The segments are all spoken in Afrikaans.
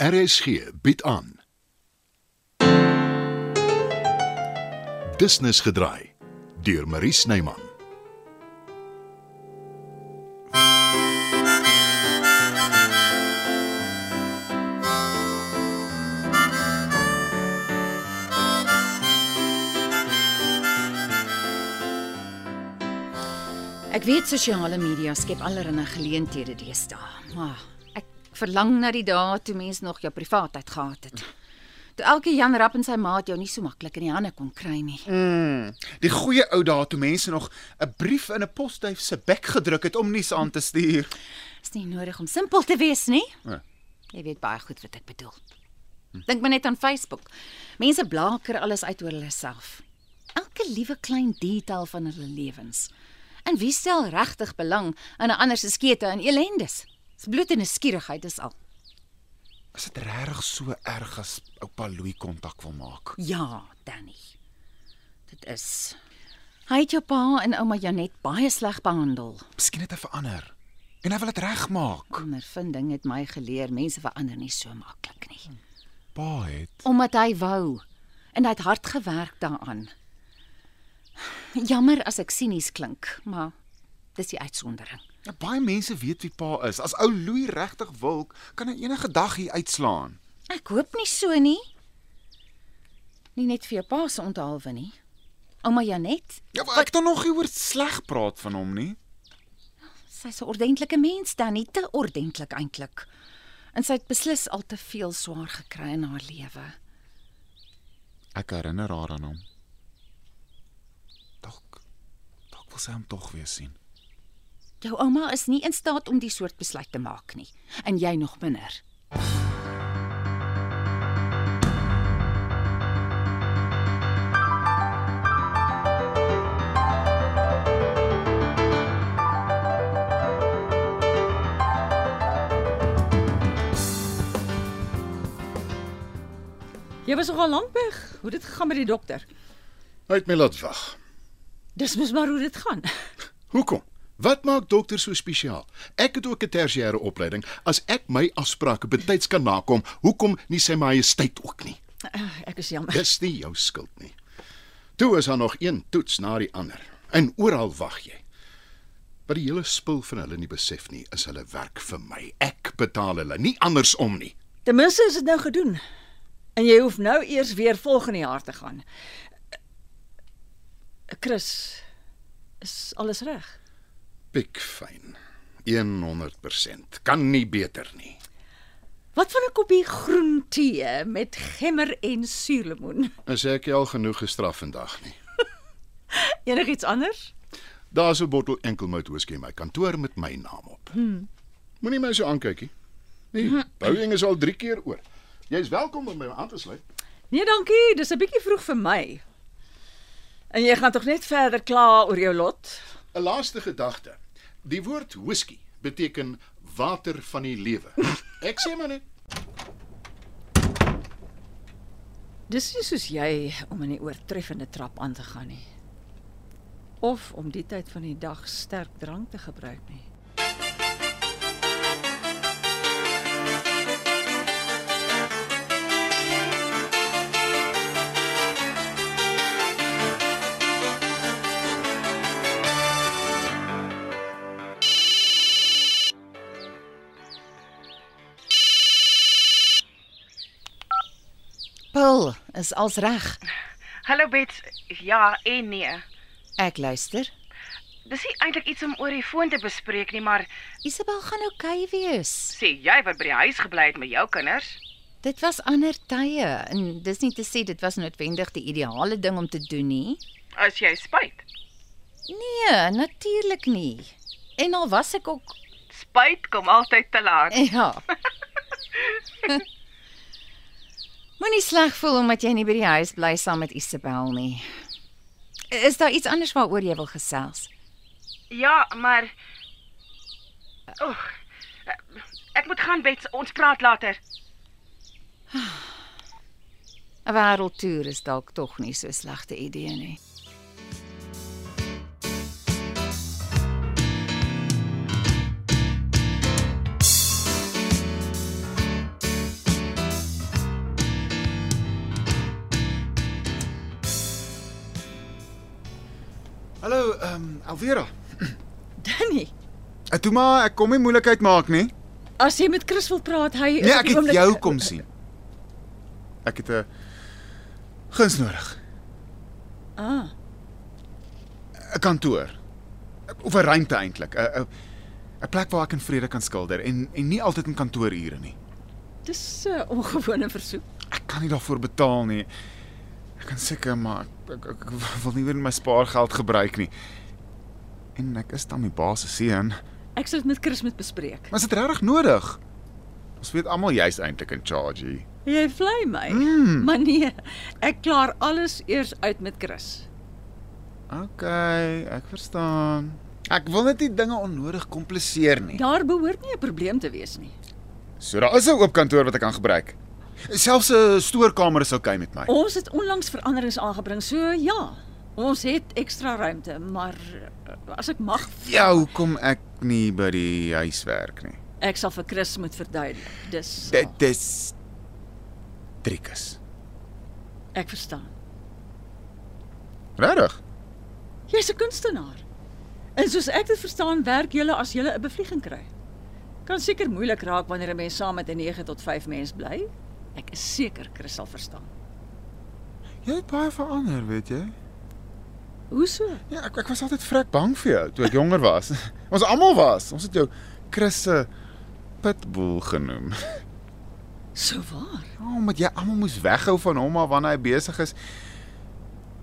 RSG bied aan. Business gedraai deur Marie Snyman. Ek weet sosiale media skep allerlei geleenthede deesdae, maar ek verlang na die dae toe mens nog jou privaatheid gehad het. Toe elke Jan Rapp en sy maat jou nie so maklik in die hande kon kry nie. Die goeie ou dae toe mense nog 'n brief in 'n posduif se bek gedruk het om nuus aan te stuur. Is nie nodig om simpel te wees nie. Nee. Jy weet baie goed wat ek bedoel. Dink maar net aan Facebook. Mense blaker alles uit oor hulle self. Elke liewe klein detail van hulle lewens. En wie stel regtig belang aan 'n ander se skete en elendes? Dis bloot 'n skierigheid is al. Is dit regtig so erg as oupa Louis kontak wil maak? Ja, Danny. Dit is. Hy het jou pa en ouma Janet baie sleg behandel. Miskien het hy verander en hy wil dit regmaak. Ondervinding het my geleer mense verander nie so maklik nie. Pa het. Omdat hy wou en hy het hard gewerk daaraan. Jammer as ek sinies klink, maar dis die uitsondering. Ja, baie mense weet wie pa is. As ou Louis regtig wil, kan hy enige dag hier uitslaan. Ek hoop nie so nie. Nie net vir jou pa se onthaalwe nie. Ouma Janet, Ja, maar ek het dan nog nie oor sleg praat van hom nie. Sy's 'n ordentlike mens dan, nie te ordentlik eintlik. En sy het beslis al te veel swaar gekry in haar lewe. Ek herinner haar aan hom. Dalk dalk wil sy hom tog weer sien. Jou ouma is nie in staat om die soort besluit te maak nie, en jy nog minder. Jy was nogal lank weg. Hoe het dit gegaan met die dokter? Hy het my laat wag. Dis mos maar hoe dit gaan. Hoekom? Wat maak dokter so spesiaal? Ek het ook 'n tersiêre opleiding. As ek my afsprake betyds kan nakom, hoekom nie sy majesteit ook nie? Uh, ek is jammer. Dis nie jou skuld nie. Toe is daar nog een toets na die ander en oral wag jy. Wat die hele spul van hulle nie besef nie, is hulle werk vir my. Ek betaal hulle, nie andersom nie. Ten minste is dit nou gedoen. En jy hoef nou eers weer volgende jaar te gaan. Eh, Chris, is alles reg? Pik fyn. 100%. Kan nie beter nie. Wat van 'n koppie groen tee met gemmer en suurlemoen? Is ek al genoeg gestraf vandag nie. Enigiets anders? Daar's 'n bottel enkelmout whisky in my kantoor met my naam op. Hmm. Moenie my so aankyk nie. Nee, bouing is al 3 keer oor. Jy's welkom om by my aan te sluit. Nee, dankie. Dis 'n bietjie vroeg vir my. En jy gaan tog net verder kla oor jou lot? 'n Laaste gedagte. Die woord whisky beteken water van die lewe. Ek sê maar net, Dis nie soos jy om in die oortreffende trap aan te gaan nie. Of om die tyd van die dag sterk drank te gebruik nie. Pil is als reg. Hallo Bet. Ja en nee. Ek luister. Dis nie eintlik iets om oor die foon te bespreek nie, maar Isabel gaan oukei okay wees. sê jy wat by die huis gebly het met jou kinders? Dit was ander tye en dis nie te sê dit was noodwendig die ideale ding om te doen nie. As jy spyt. Nee, natuurlik nie. En al was ek ook Spyt kom altyd te laat. Ja. Moenie sleg voel omdat jy nie by die huis bly saam met Isabel nie. Is daar iets anders waaroor jy wil gesels? Ja, maar Oeg. Ek moet gaan Bet. Ons praat later. 'n Wêreldtoer is dalk tog nie so slegte idee nie. Hallo, ehm um, Alvera. Danny, Eh, Toe maar, ek kom nie moeilikheid maak nie. as jy met Chris wil praat, hy is Nee, op ek die het oomblik- jou kom sien. Ek het 'n guns nodig. Ah, 'n kantoor. Of 'n ruimte eintlik, 'n 'n 'n plek waar ek in vrede kan skilder en en nie altyd in kantoorure nie. dis 'n ongewone versoek. Ek kan nie daarvoor betaal nie. Ek kan seker maar ek, ek, ek wil nie weer my spaargeld gebruik nie. En ek is dan die baas se seun. Ek sal dit met Chris moet bespreek. Maar is dit regtig nodig? Ons weet almal jy's eintlik in charge. hier. Jy vlei my. Mm. Maar nee, ek klaar alles eers uit met Chris. OK, ek verstaan. Ek wil net nie dinge onnodig kompliseer nie. Daar behoort nie 'n probleem te wees nie. So daar is 'n oop kantoor wat ek kan gebruik. Selfs 'n stoorkamer is oukei okay met my. Ons het onlangs veranderings aangebring, so ja. Ons het ekstra ruimte, maar eh, as ek mag, Ja, hoekom ek nie by die huis werk nie. ek sal vir Chris moet verduidelik. Dis Dit is triekus. ek verstaan. Regtig? Jy's 'n kunstenaar. En soos ek dit verstaan, werk julle as julle 'n bevlieging kry. Kan seker moeilik raak wanneer 'n mens saam met 'n 9 tot 5 mens bly. Ek is seker Chris sal verstaan. Jy het baie verander, weet jy? Hoe so? Ja, ek ek was altyd vrek bang vir jou toe ek jonger was. Ons almal was. Ons het jou Chris se pitbull genoem. So waar. Ja, omdat jy almal moes weghou van hom maar wanneer hy besig is.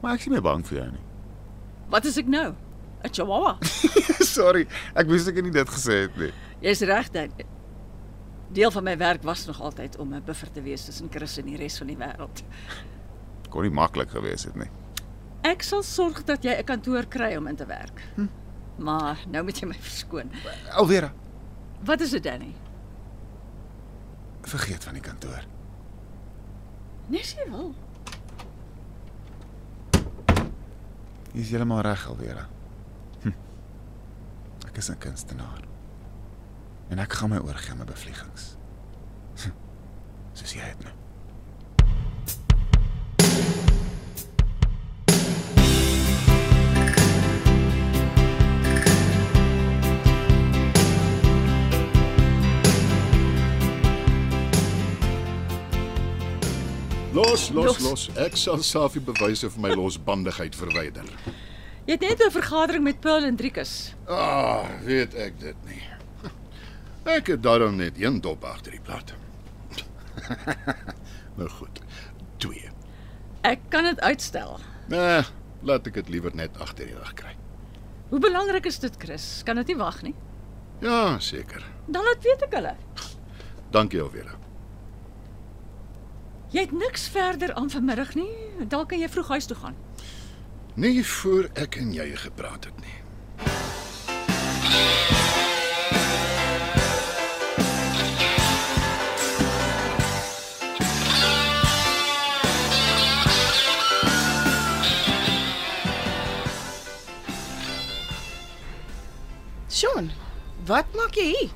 Maar ek is nie meer bang vir jou nie. Wat is ek nou? 'n Chihuahua. Sorry, ek wou seker nie dit gesê het nie. Jy's reg dan. Deel van my werk was nog altyd om 'n buffer te wees tussen Chris en die res van die wêreld. Kon nie maklik gewees het nie. Ek sal sorg dat jy 'n kantoor kry om in te werk. Maar nou moet jy my verskoon. Alvera, Wat is dit Danny? vergeet van die kantoor. Nes jy wil. Jy is heeltemal reg, Alvera. Hm. Ek is 'n kunstenaar. En ek gaan my oorgee aan my bevliegings. Hm. Soos jy dit nou. Los, los, Los. los. Ek sal Safi bewyse vir my losbandigheid verwyder. Jy het net 'n vergadering met Paul en Driekus. Ah, weet ek dit nie. Ek het daarom net een dop agter die plat. nou goed. 2. Ek kan dit uitstel. Nee, laat ek dit liewer net agter die rug kry. Hoe belangrik is dit, Chris? Kan dit nie wag nie. Ja, seker. Dan laat weet ek hulle. Dankie alweer. Jy het niks verder aan vanmiddag nie. Dalk kan jy vroeg huis toe gaan. Nie voor ek en jy gepraat het nie. Sean, wat maak jy hier?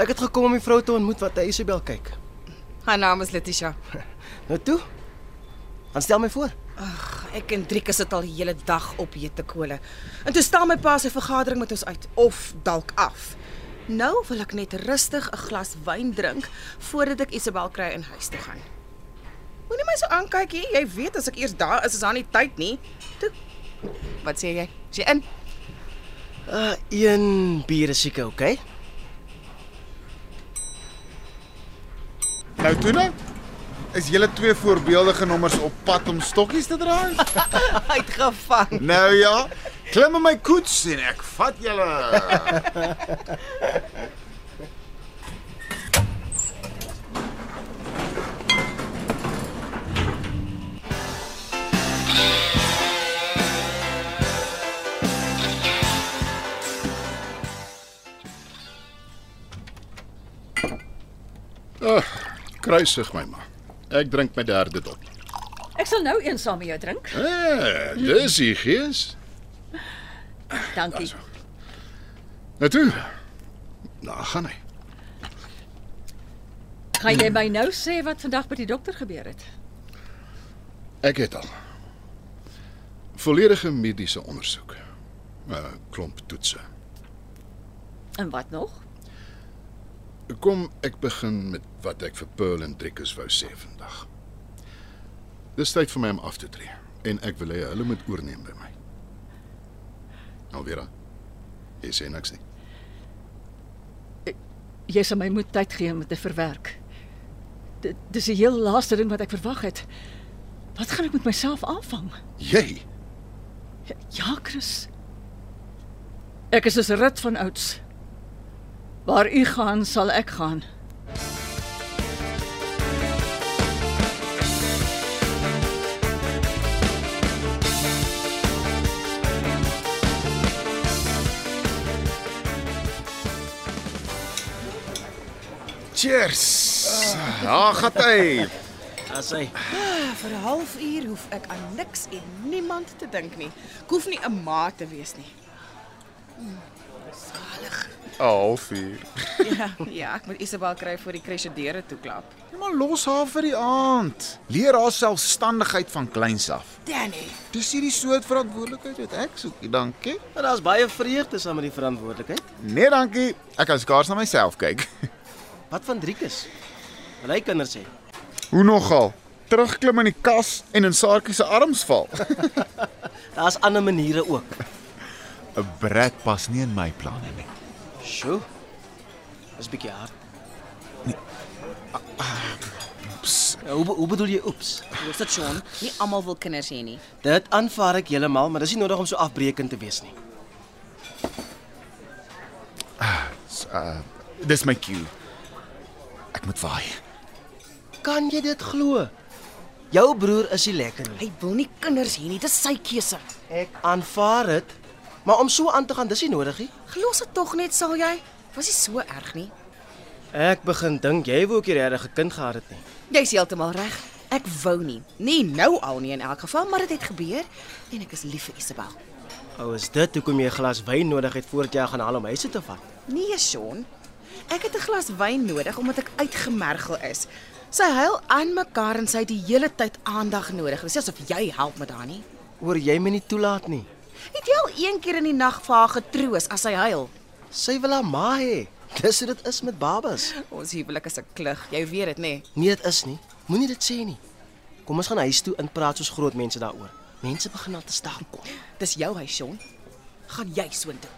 Ek het gekom om die vrou te ontmoet wat na Isabel kyk. Haar naam is Letitia. Nou toe. Dan stel my voor. Ek en Drieke sit al die hele dag op jete kole. En toe staan my pa sy vergadering met ons uit of dalk af. Nou wil ek net rustig 'n glas wyn drink voordat ek Isabel kry en huis toe gaan. Moenie my so aankyk hier. Jy weet as ek eers daar is, is daar nie tyd nie. Toe. Wat sê jy? Is jy in? Uh, een bier is seker, okay? Nou toe nou. Is julle twee voorbeeldige nommers op pad om stokkies te draai? Uitgevang. nou ja, klim in my koets en ek vat julle. Kruisig my ma. Ek drink my derde dop. Ek sal nou een saam met jou drink. Ah, dis die gees. Dankie. Nou toe. Nou gaan hy. Gaan jy my nou sê wat vandag by die dokter gebeur het? Ek het al. Volledige mediese ondersoek. 'n Klomp toetse. En wat nog? Kom ek begin met wat ek vir Pearl en Driekus wou sê vandag. Dis tyd vir my om af te tree en ek wil hê hulle moet oorneem by my. Alvera. Jy sê niks nie. Jy sal my moet tyd gee om dit te verwerk. Dit dis die heel laaste ding wat ek verwag het. Wat gaan ek met myself aanvang? Jy Ja, Chris. Ek is soos 'n rit van ouds. Waar u gaan, sal ek gaan. Cheers. Ah, Daar gaan hy. As hy Vir 'n halfuur hoef ek aan niks en niemand te dink nie. Ek hoef nie 'n ma te wees nie. 0:30. Ja, ja ek moet Isabel kry vir die kresjedeure toeklap. Maar los haar vir die aand. Leer haar selfstandigheid van kleins af. Danny, Dis hierdie soort verantwoordelikheid wat ek soek. Dankie. Maar daar's baie vreugde saam met die verantwoordelikheid. Nee, dankie. Ek kan skaars na myself kyk. Wat van Driekus? Wil hy kinders hê? Hoe nogal? Terugklim in die kas en in Saartjie se arms val. Daar's ander maniere ook. 'n Brat pas nie in my planne nie. Sjoe. Dis bietjie hard. Nee. Hoe be- hoe bedoel jy oeps? hoor dit Sean, nie almal wil kinders hê nie. Dit aanvaar ek heeltemal, maar dis nie nodig om so afbreekend te wees nie. S- Uh, dis my cue. Ek moet vaai. Kan jy dit glo? Jou broer is nie lekker nie. Hy wil nie kinders hê nie, dis sy keuse. Ek aanvaar dit, maar om so aan te gaan, dis nie nodig nie. Gelos dit tog net, sal jy? Was nie so erg nie. Ek begin dink jy wou ook nie regtig 'n kind gehad het nie. Jy's heeltemal reg. Ek wou nie. Nie nou al nie in elk geval, maar dit het, het gebeur en ek is lief vir Isabel. Ou, is dit hoekom jy 'n glas wyn nodig het voordat jy haar gaan haal om huis toe te vat? Nee, Sean. Ek het 'n glas wyn nodig omdat ek uitgemergel is. Sy huil aan mekaar en sy het die hele tyd aandag nodig. Dis nie asof jy help met haar nie. Oor jy my nie toelaat nie. Het jy al een keer in die nag vir haar getroos as sy huil? Sy wil haar ma hê. Dis hoe dit is met babas. Ons huwelik is 'n klug. Jy weet dit, nê? Nee. Nee, dit is nie. Moenie dit sê nie. Kom ons gaan huis toe en praat soos groot mense daaroor. Mense begin al te staan kom. Dis jou huis, Sean. Gaan jy soontoe?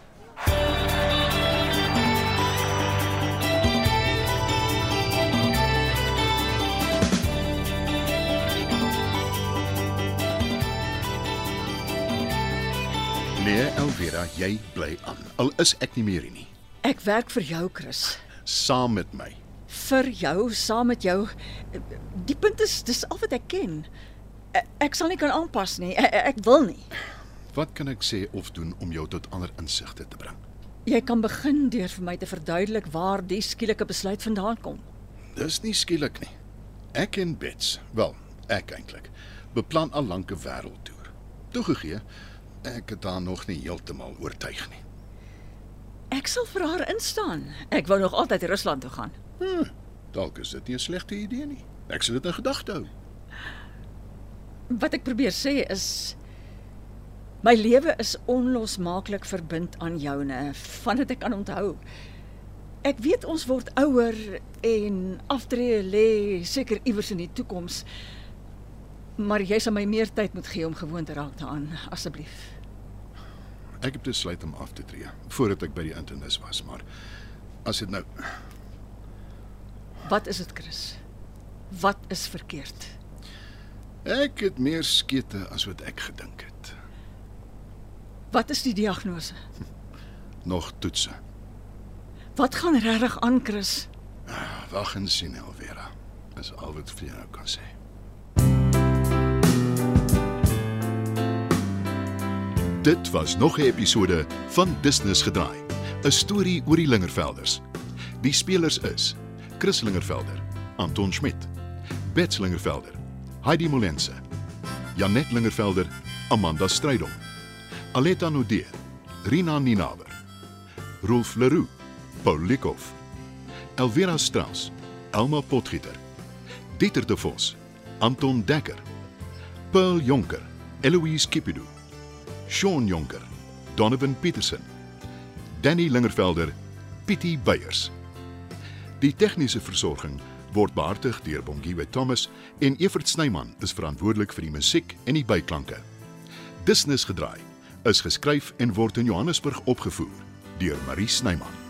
nee, Elvera, jy bly aan. Al is ek nie meer hier nie. Ek werk vir jou, Chris. Saam met my. Vir jou, saam met jou. Die punt is, dis al wat ek ken. E- Ek sal nie kan aanpas nie. Ek, ek wil nie. Wat kan ek sê of doen om jou tot ander insigte te bring? Jy kan begin deur vir my te verduidelik waar die skielike besluit vandaan kom. Dis nie skielik nie. Ek en Bets, wel, ek eintlik, beplan al lank 'n wêreldtoer. Toegegee, ek het daar nog nie heeltemal oortuig nie. Ek sal vir haar instaan. Ek wou nog altyd Rusland toe gaan. Dalk is dit nie 'n slegte idee nie. Ek sal dit in gedagte hou. Wat ek probeer sê is my lewe is onlosmaaklik verbind aan joune, vandat ek kan onthou. Ek weet ons word ouer en aftree lê seker iewers in die toekoms. Maar jy sal my meer tyd moet gee om gewoond te raak daaraan, asseblief. Ek het besluit om af te tree voordat ek by die internis was, maar as dit nou Wat is dit, Chris? Wat is verkeerd? ek het meer skete as wat ek gedink het. Wat is die diagnose? Nog toetse. Wat gaan regtig aan, Chris? Wag en sien, Elvera. Dis al wat vir jou kan sê. Dit was nog 'n episode van Business Gedraai, 'n storie oor die Lingervelders. Die spelers is: Chris Lingervelder, Anton Schmidt, Bets Lingervelder, Heidi Molense, Janet Lingervelder, Amanda Strydom, Aletta Nudee, Rina Ninaber, Rolf Leroux, Paul Likoff, Elvira Strauss, Elma Potgieter, Dieter de Vos, Anton Dekker, Pearl Jonker, Eloise Kipido, Sean Jonker, Donovan Petersen, Danny Lingervelder, Pietie Beyers. Die tegniese versorging word behartig deur Bongwe Thomas en Evert Snyman is verantwoordelik vir die musiek en die byklanke. Business gedraai is geskryf en word in Johannesburg opgevoer deur Marie Snyman.